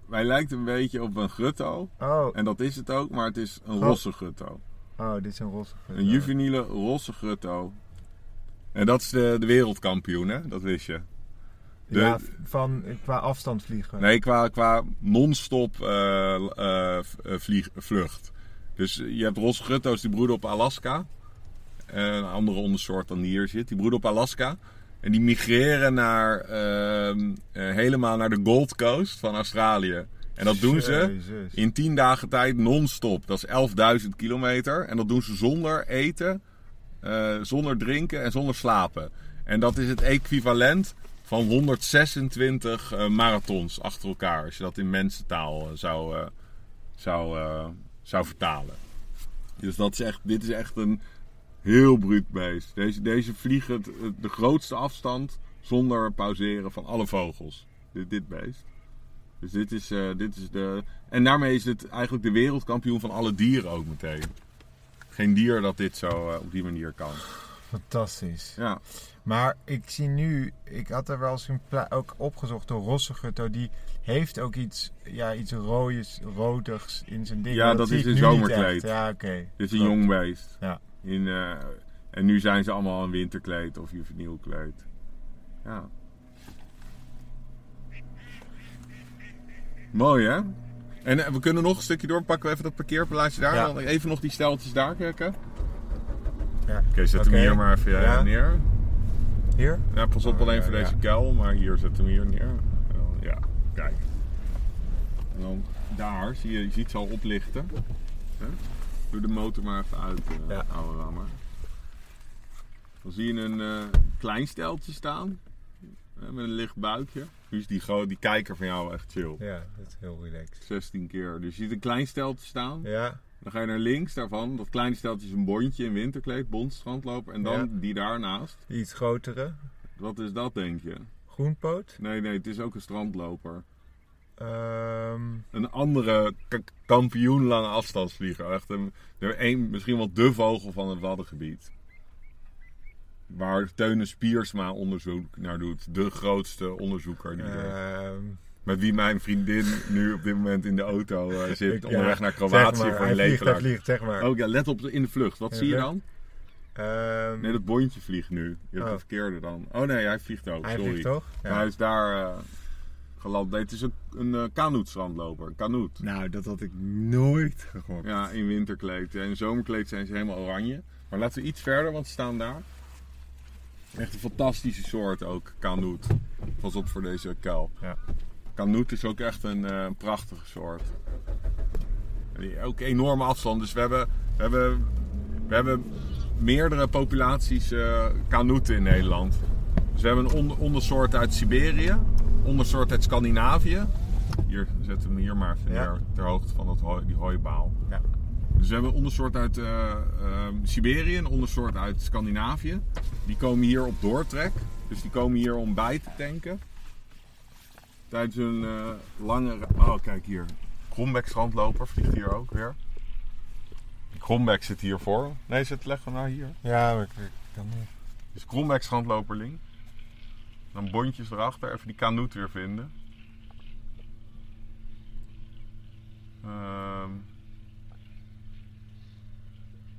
S1: Hij lijkt een beetje op een grutto.
S2: Oh,
S1: En dat is het ook, maar het is een
S2: Oh.
S1: rosse grutto.
S2: oh dit is een roze.
S1: Een juveniele rosse grutto. En dat is de, de wereldkampioen, hè? Dat wist je. de-
S2: Ja, v- van eh, qua afstand vliegen.
S1: Nee, qua, qua non-stop eh, eh, v- eh, vlieg- vlucht. Dus je hebt rosse grutto's die broeden op Alaska. Eh, een andere ondersoort dan die hier zit. Die broeden op Alaska. En die migreren naar, ehm, eh, helemaal naar de Gold Coast van Australië. En dat doen ze
S2: Jezus.
S1: in 10 dagen tijd non-stop. Dat is 11.000 kilometer. En dat doen ze zonder eten, eh, zonder drinken en zonder slapen. En dat is het equivalent van 126 eh, marathons achter elkaar. Als je dat in mensentaal eh, zou, eh, zou, eh, zou vertalen. Dus dat is echt, dit is echt een heel bruut beest. Deze, deze vliegen het- het- de grootste afstand zonder pauzeren van alle vogels. Dit, dit beest. Dus dit is, eh, dit is de. En daarmee is het eigenlijk de wereldkampioen van alle dieren ook meteen. Geen dier dat dit zo eh, op die manier kan.
S2: Fantastisch.
S1: Ja,
S2: Maar ik zie nu, ik had er wel eens een pla- ook opgezocht door Rossegutto. Die heeft ook iets, ja, iets rooies, rodigs in zijn ding.
S1: Ja,
S2: maar
S1: dat
S2: zie
S1: is
S2: ik
S1: een
S2: nu niet
S1: zomerkleed.
S2: echt. Ja, oké.
S1: dit is een
S2: Klopt.
S1: jong beest.
S2: Ja.
S1: In, eh, en nu zijn ze allemaal in winterkleed of juveniel kleed. Ja. Mooi hè? En eh, we kunnen nog een stukje door. Pakken we even dat parkeerplaatsje daar.
S2: Ja.
S1: Dan even nog die steltjes daar kijken. Oké,
S2: Ja.
S1: zet
S2: Oké.
S1: hem hier maar even eh,
S2: Ja.
S1: neer.
S2: Hier?
S1: Ja, pas op
S2: Oh,
S1: alleen
S2: ja,
S1: voor
S2: ja.
S1: deze kuil, maar hier zet hem hier neer. En dan- Ja, kijk. En dan daar zie je, je ziet ze al oplichten. Hè? Doe de motor maar even uit, eh,
S2: Ja.
S1: oude rammer. Dan zie je een eh, klein steltje staan. hè, met een licht buikje. Nu is die, gro- die kijker van jou echt chill.
S2: Ja, dat is heel relaxed.
S1: 16 keer. Dus je ziet een klein steltje staan.
S2: Ja,
S1: Dan ga je naar links daarvan. Dat kleine steltje is een bondje in winterkleed, bondstrandloper. En dan
S2: Ja.
S1: die daarnaast.
S2: die iets grotere.
S1: Wat is dat, denk je?
S2: Groenpoot.
S1: Nee, nee, het is ook een strandloper.
S2: Ehm,
S1: Een andere k- kampioen lange afstandsvlieger. Echt een, de een, misschien wel de vogel van het Waddengebied. Waar Teune Spiersma onderzoek naar doet. De grootste onderzoeker. Die er-
S2: ehm,
S1: met wie mijn vriendin nu op dit moment in de auto eh, zit.
S2: ik-
S1: onderweg
S2: ja,
S1: naar
S2: zeg
S1: Kroatië
S2: maar,
S1: voor
S2: hij
S1: een
S2: vliegt, hij
S1: leven.
S2: vliegt, zeg maar.
S1: Oh ja, let op de- in de vlucht. Wat
S2: In de
S1: zie je
S2: vlucht?
S1: dan?
S2: Ehm,
S1: Nee, dat bondje vliegt nu. Je hebt
S2: Oh.
S1: het verkeerde dan. Oh nee, hij vliegt ook.
S2: hij
S1: Sorry.
S2: vliegt toch? Ja.
S1: Maar hij is daar eh, geland. Nee, het is een, een eh kanoetstrandloper. Een kanoet.
S2: Nou, dat had ik nooit gehoord.
S1: Ja, in winterkleed. En in zomerkleed zijn ze helemaal oranje. Maar laten we iets verder, want ze staan daar. Echt een fantastische soort ook, kanoet. Pas op voor deze kuil.
S2: Ja.
S1: Kanoet is ook echt een eh, prachtige soort. En die- Ook enorme afstand. Dus we hebben, we hebben, we hebben meerdere populaties eh kanoeten in Nederland. Dus we hebben een on- ondersoort uit Siberië, ondersoort uit Scandinavië. Hier zetten we hem hier maar even
S2: Ja.
S1: neer, ter hoogte van dat hooi, die hooibaal.
S2: Ja.
S1: Dus we hebben een ondersoort uit eh, ehm, Siberië, een ondersoort uit Scandinavië. Die komen hier op doortrek. Dus die komen hier om bij te tanken. Tijdens een eh, lange... re- Oh, kijk hier. Grombeck strandloper vliegt hier ook weer. Grombeck zit hier voor. Nee, zit leg hem nou hier.
S2: Ja, maar ik, ik kan niet.
S1: Dus Kromwijk strandloperling. Dan bondjes erachter, even die kanoet weer vinden. Ehm.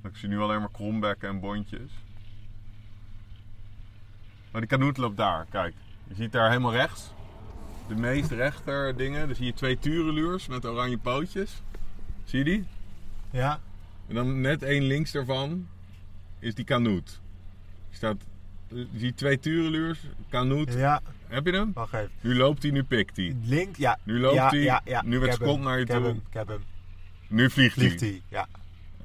S1: ik zie nu alleen maar krombekken en bondjes. Maar die kanoet loopt daar, kijk. Je ziet daar helemaal rechts. De meest rechter dingen. Dan zie je twee tureluurs met oranje pootjes. Zie je die?
S2: Ja,
S1: En dan net één links daarvan is die kanoet. Je staat, je ziet twee tureluurs, kanoet.
S2: ja,
S1: Heb je hem?
S2: wacht even.
S1: Nu loopt hij, nu pikt hij.
S2: Link, ja.
S1: Nu loopt
S2: ja,
S1: hij.
S2: Ja, ja.
S1: Nu werd
S2: Ik heb
S1: Scott
S2: hem,
S1: naar je
S2: ik heb
S1: toe.
S2: hem, Ik heb hem.
S1: Nu vliegt,
S2: Vliegt
S1: hij.
S2: hij, ja.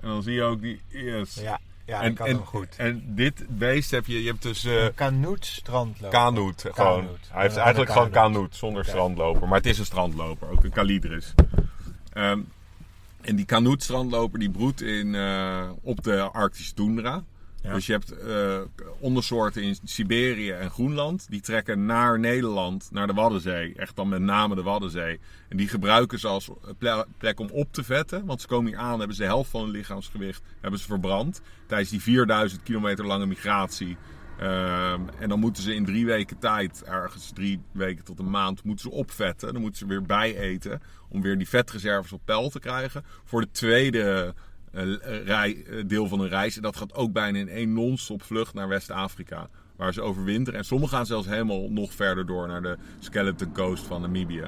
S1: En dan zie je ook die, yes.
S2: Ja, Ja,
S1: en,
S2: dat kan
S1: en,
S2: hem goed.
S1: En dit beest heb je, je hebt dus eh
S2: Een Kanoet strandloper.
S1: kanoet. Gewoon.
S2: Kanoet.
S1: Hij heeft
S2: Ja,
S1: eigenlijk
S2: een
S1: gewoon
S2: kanoet.
S1: kanoet, zonder strandloper. Maar het is een strandloper, ook een kalidris. Ehm, en die kanoet-strandloper die broedt in, eh, op de Arctische tundra.
S2: Ja.
S1: Dus je hebt eh, ondersoorten in Siberië en Groenland. Die trekken naar Nederland, naar de Waddenzee. Echt dan met name de Waddenzee. En die gebruiken ze als ple- plek om op te vetten. Want ze komen hier aan, hebben ze de helft van hun lichaamsgewicht hebben ze verbrand. Tijdens die 4000 kilometer lange migratie. Ehm, en dan moeten ze in drie weken tijd, ergens drie weken tot een maand, moeten ze opvetten. Dan moeten ze weer bijeten om weer die vetreserves op peil te krijgen. Voor de tweede eh, rij- eh, deel van hun reis. En dat gaat ook bijna in één non-stop vlucht naar West-Afrika. Waar ze overwinteren. En sommigen gaan zelfs helemaal nog verder door naar de Skeleton Coast van Namibië.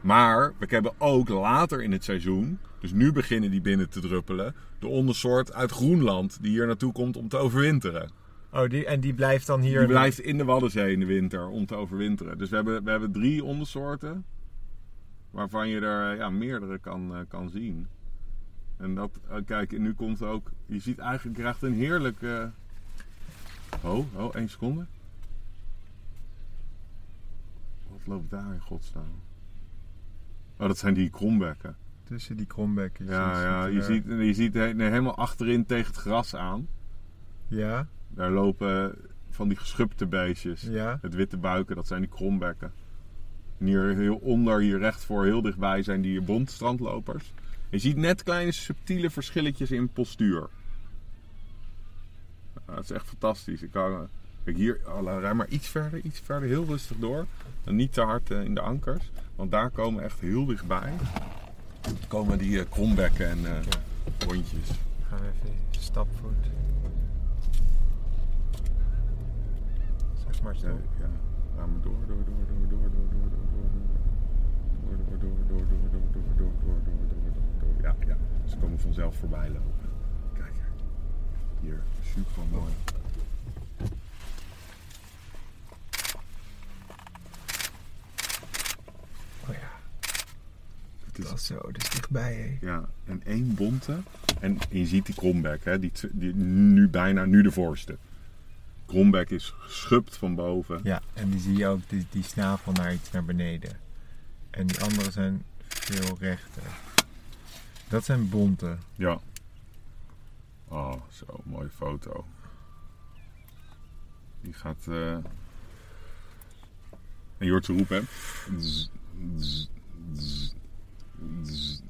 S1: Maar we hebben ook later in het seizoen, dus nu beginnen die binnen te druppelen, de ondersoort uit Groenland die hier naartoe komt om te overwinteren.
S2: Oh, die, en die blijft dan hier.
S1: Die blijft in de Waddenzee in de winter om te overwinteren. Dus we hebben, we hebben drie ondersoorten. Waarvan je er ja, meerdere kan, eh, kan zien. En dat, eh, kijk, en nu komt ook. Je ziet eigenlijk, je krijgt een heerlijk. eh, Oh, oh, één seconde. Wat loopt daar in godsnaam? Oh, dat zijn die krombekken.
S2: tussen die krombekjes.
S1: Ja, ja,
S2: eh,
S1: je ziet, je ziet he- nee, helemaal achterin tegen het gras aan.
S2: Ja,
S1: Daar lopen van die geschupte beestjes.
S2: ja.
S1: Het witte buiken, dat zijn die krombekken. En hier heel onder, hier recht voor, heel dichtbij zijn die bondstrandlopers. Je ziet net kleine subtiele verschilletjes in postuur. Ja, dat is echt fantastisch. Ik kan, eh, kijk hier, oh, la- rij maar iets verder, iets verder, heel rustig door. En niet te hard eh, in de ankers, want daar komen echt heel dichtbij. Komen die eh, krombekken en eh hondjes.
S2: Gaan we even stapvoet. Zeg maar
S1: Ja,
S2: zo.
S1: ja. Ga maar door, door, door, door, door, door, door, door, door, door, door, door, door, door, door, door, door, door, door, door, door, door, door. Ja, ja. Ze komen vanzelf voorbij lopen. Kijk, kijk. Hier, super mooi.
S2: Oh ja,
S1: Het is,
S2: zo, dat is dichtbij hè.
S1: ja, en één bonte. En je ziet die krombeck, hè, die, tw- die nu bijna, nu de voorste. Krombeck is geschupt van boven.
S2: Ja, en die zie je ook, die, die snavel naar iets naar beneden. En die andere zijn veel rechter. Dat zijn bonte.
S1: Ja. Oh, zo, mooie foto. Die gaat. eh, En je hoort ze roepen, hè? Zzz, zzz, zzz, zzz.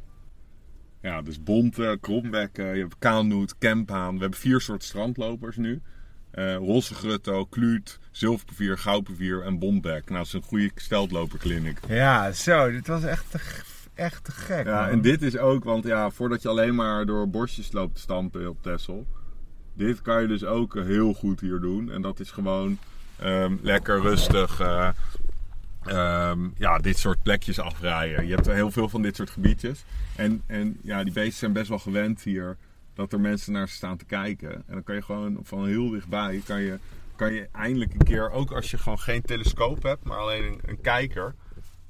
S1: Ja, dus bonte, krombekken, je hebt kanoet, kemphaan. We hebben vier soorten strandlopers nu. Eh roze grutto, kluut, zilverpapier, goudpapier en bombek. Nou, dat is een goede steltloperkliniek.
S2: Ja, zo, dit was echt te, g- echt te gek.
S1: Ja,
S2: man.
S1: en dit is ook, want ja, voordat je alleen maar door borstjes loopt te stampen op Texel. Dit kan je dus ook heel goed hier doen. En dat is gewoon ehm, lekker rustig. eh, ehm, ja, dit soort plekjes afrijden. Je hebt er heel veel van dit soort gebiedjes. En, en ja, die beesten zijn best wel gewend hier dat er mensen naar ze staan te kijken. En dan kan je gewoon van heel dichtbij, kan je, kan je eindelijk een keer, ook als je gewoon geen telescoop hebt, maar alleen een, een kijker.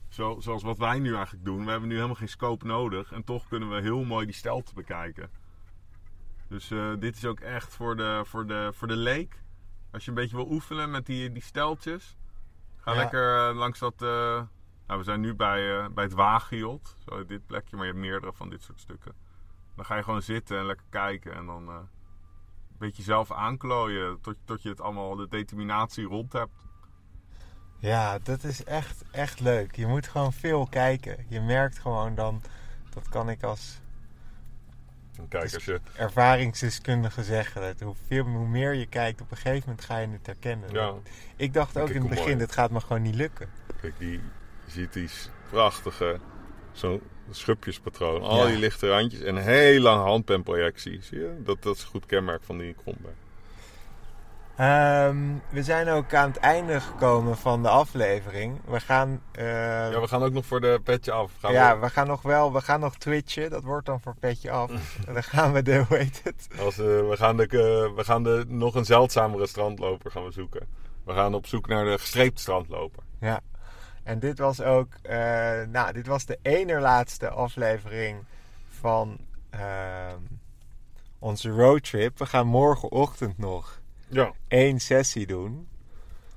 S1: Zo, zoals wat wij nu eigenlijk doen. We hebben nu helemaal geen scope nodig. En toch kunnen we heel mooi die stelte bekijken. Dus eh, dit is ook echt voor de, voor, de, voor de leek. Als je een beetje wil oefenen met die, die steltjes. Ga
S2: Ja.
S1: lekker eh, langs dat... eh, nou, we zijn nu bij, eh, bij het Wagiot. Zo heet dit plekje. Maar je hebt meerdere van dit soort stukken. Dan ga je gewoon zitten en lekker kijken. En dan eh, een beetje zelf aanklooien. Tot, tot je het allemaal, de determinatie rond hebt.
S2: Ja, dat is echt, echt leuk. Je moet gewoon veel kijken. Je merkt gewoon dan, dat kan ik als
S1: Kijk,
S2: als je- ervaringsdeskundige zeggen. Dat hoe, veel, hoe meer je kijkt, op een gegeven moment ga je het herkennen. Ik dacht ook
S1: Kijk,
S2: in het
S1: hoe
S2: begin,
S1: mooi.
S2: dit gaat me gewoon niet lukken.
S1: Kijk, die je ziet die s- prachtige zo'n schupjespatroon. Al
S2: Ja.
S1: die lichte randjes en een heel lang handpenprojectie. Zie je? Dat, dat is een goed kenmerk van die kromberg.
S2: Ehm, we zijn ook aan het einde gekomen van de aflevering. We gaan, eh,
S1: Ja, we gaan ook nog voor de petje af. Gaan
S2: ja,
S1: we,
S2: we gaan nog wel, we gaan nog twitchen. Dat wordt dan voor petje af. En dan gaan we de, hoe heet het?
S1: als, eh, we gaan, de, eh, we gaan de, nog een zeldzamere strandloper gaan we zoeken. We gaan op zoek naar de gestreepte strandloper.
S2: Ja. En dit was ook, eh, nou, dit was de ene laatste aflevering van ehm, onze roadtrip. We gaan morgenochtend nog
S1: Ja,
S2: één sessie doen.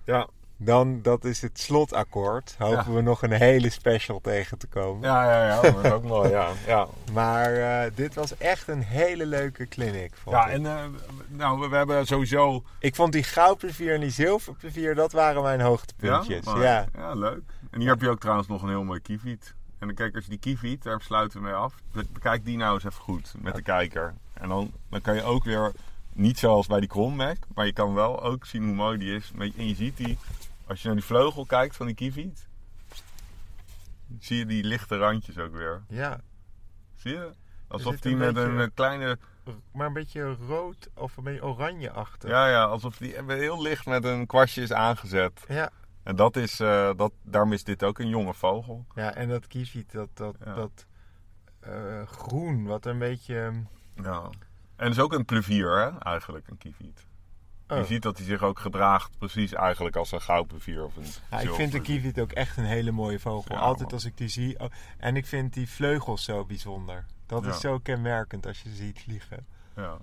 S1: ja,
S2: Dan, dat is het slotakkoord. Hopen
S1: Ja.
S2: we nog een hele special tegen te komen.
S1: ja, ja, ja dat is ook mooi. Ja, ja.
S2: Maar eh, dit was echt een hele leuke clinic. Vond
S1: ja
S2: ik.
S1: en eh, nou, we, we hebben sowieso.
S2: ik vond die goudplevier en die zilverplevier, dat waren mijn hoogtepuntjes.
S1: maar-
S2: ja.
S1: ja, leuk. En hier heb je ook trouwens nog een heel mooi kieviet. En dan kijk, als je die kieviet, daar sluiten we mee af. Be- Bekijk die nou eens even goed met de kijker. En dan, dan kan je ook weer, niet zoals bij die krommek, maar je kan wel ook zien hoe mooi die is. Maar je- En je ziet die, als je naar die vleugel kijkt van die kieviet, zie je die lichte randjes ook weer.
S2: ja,
S1: Zie je?
S2: Er
S1: Alsof
S2: zit
S1: die
S2: een
S1: met
S2: beetje-
S1: een eh, kleine
S2: maar een beetje rood of een beetje oranje achter.
S1: Ja, ja, alsof die eh, heel licht met een kwastje is aangezet.
S2: Ja.
S1: En dat is, eh, dat, daarom is dit ook een jonge vogel.
S2: Ja, en dat kieviet, dat, dat,
S1: Ja.
S2: dat eh, groen, wat een beetje... ehm,
S1: Ja. En het is ook een plevier, hè, eigenlijk, een kieviet. Je
S2: oh.
S1: ziet dat hij zich ook gedraagt precies eigenlijk als een goudplevier of een
S2: Ja, ik vind de
S1: zilverplevier.
S2: kieviet ook echt een hele mooie vogel.
S1: Ja,
S2: Altijd
S1: man.
S2: als ik die zie. oh, en ik vind die vleugels zo bijzonder. Dat
S1: Ja.
S2: is zo kenmerkend als je ze ziet vliegen.
S1: Ja.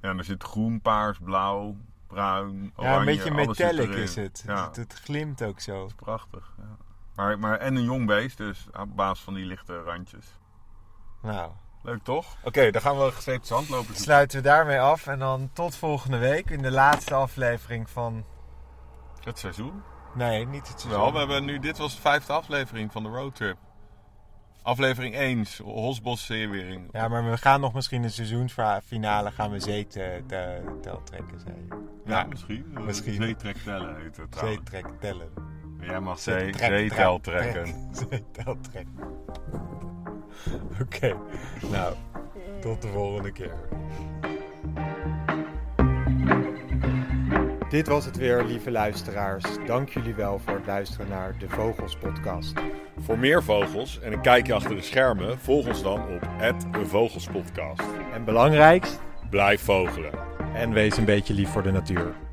S1: ja, en er zit groen, paars, blauw, bruin, oranje.
S2: ja, een beetje
S1: alles zit
S2: metallic
S1: erin.
S2: is het.
S1: Ja,
S2: het. Het glimt ook zo.
S1: prachtig. Ja. Maar, maar, en een jong beest, dus op basis van die lichte randjes.
S2: Nou,
S1: Leuk toch? Oké, dan gaan we gestreept zand lopen zoeken.
S2: sluiten we daarmee af. En dan tot volgende week in de laatste aflevering van...
S1: Het seizoen.
S2: Nee, niet het seizoen.
S1: Wel, we hebben nu, dit was de vijfde aflevering van de roadtrip. Aflevering 1, Hosbos Zeewering.
S2: Ja, maar we gaan nog misschien een seizoensfinale gaan we eh, zee te, te, tel trekken, zei je.
S1: Ja, misschien. Eh,
S2: Misschien.
S1: Zeetrektellen heet het trouwens.
S2: Zeetrek tellen.
S1: Jij mag zee,
S2: Zee-
S1: zeetel trekken.
S2: Zeetel trekken. Oké, nou, tot de volgende keer. Dit was het weer, lieve luisteraars. Dank jullie wel voor het luisteren naar de Vogels Podcast.
S1: Voor meer vogels en een kijkje achter de schermen, volg ons dan op het Vogelspodcast.
S2: En belangrijkst,
S1: Blijf vogelen.
S2: en wees een beetje lief voor de natuur.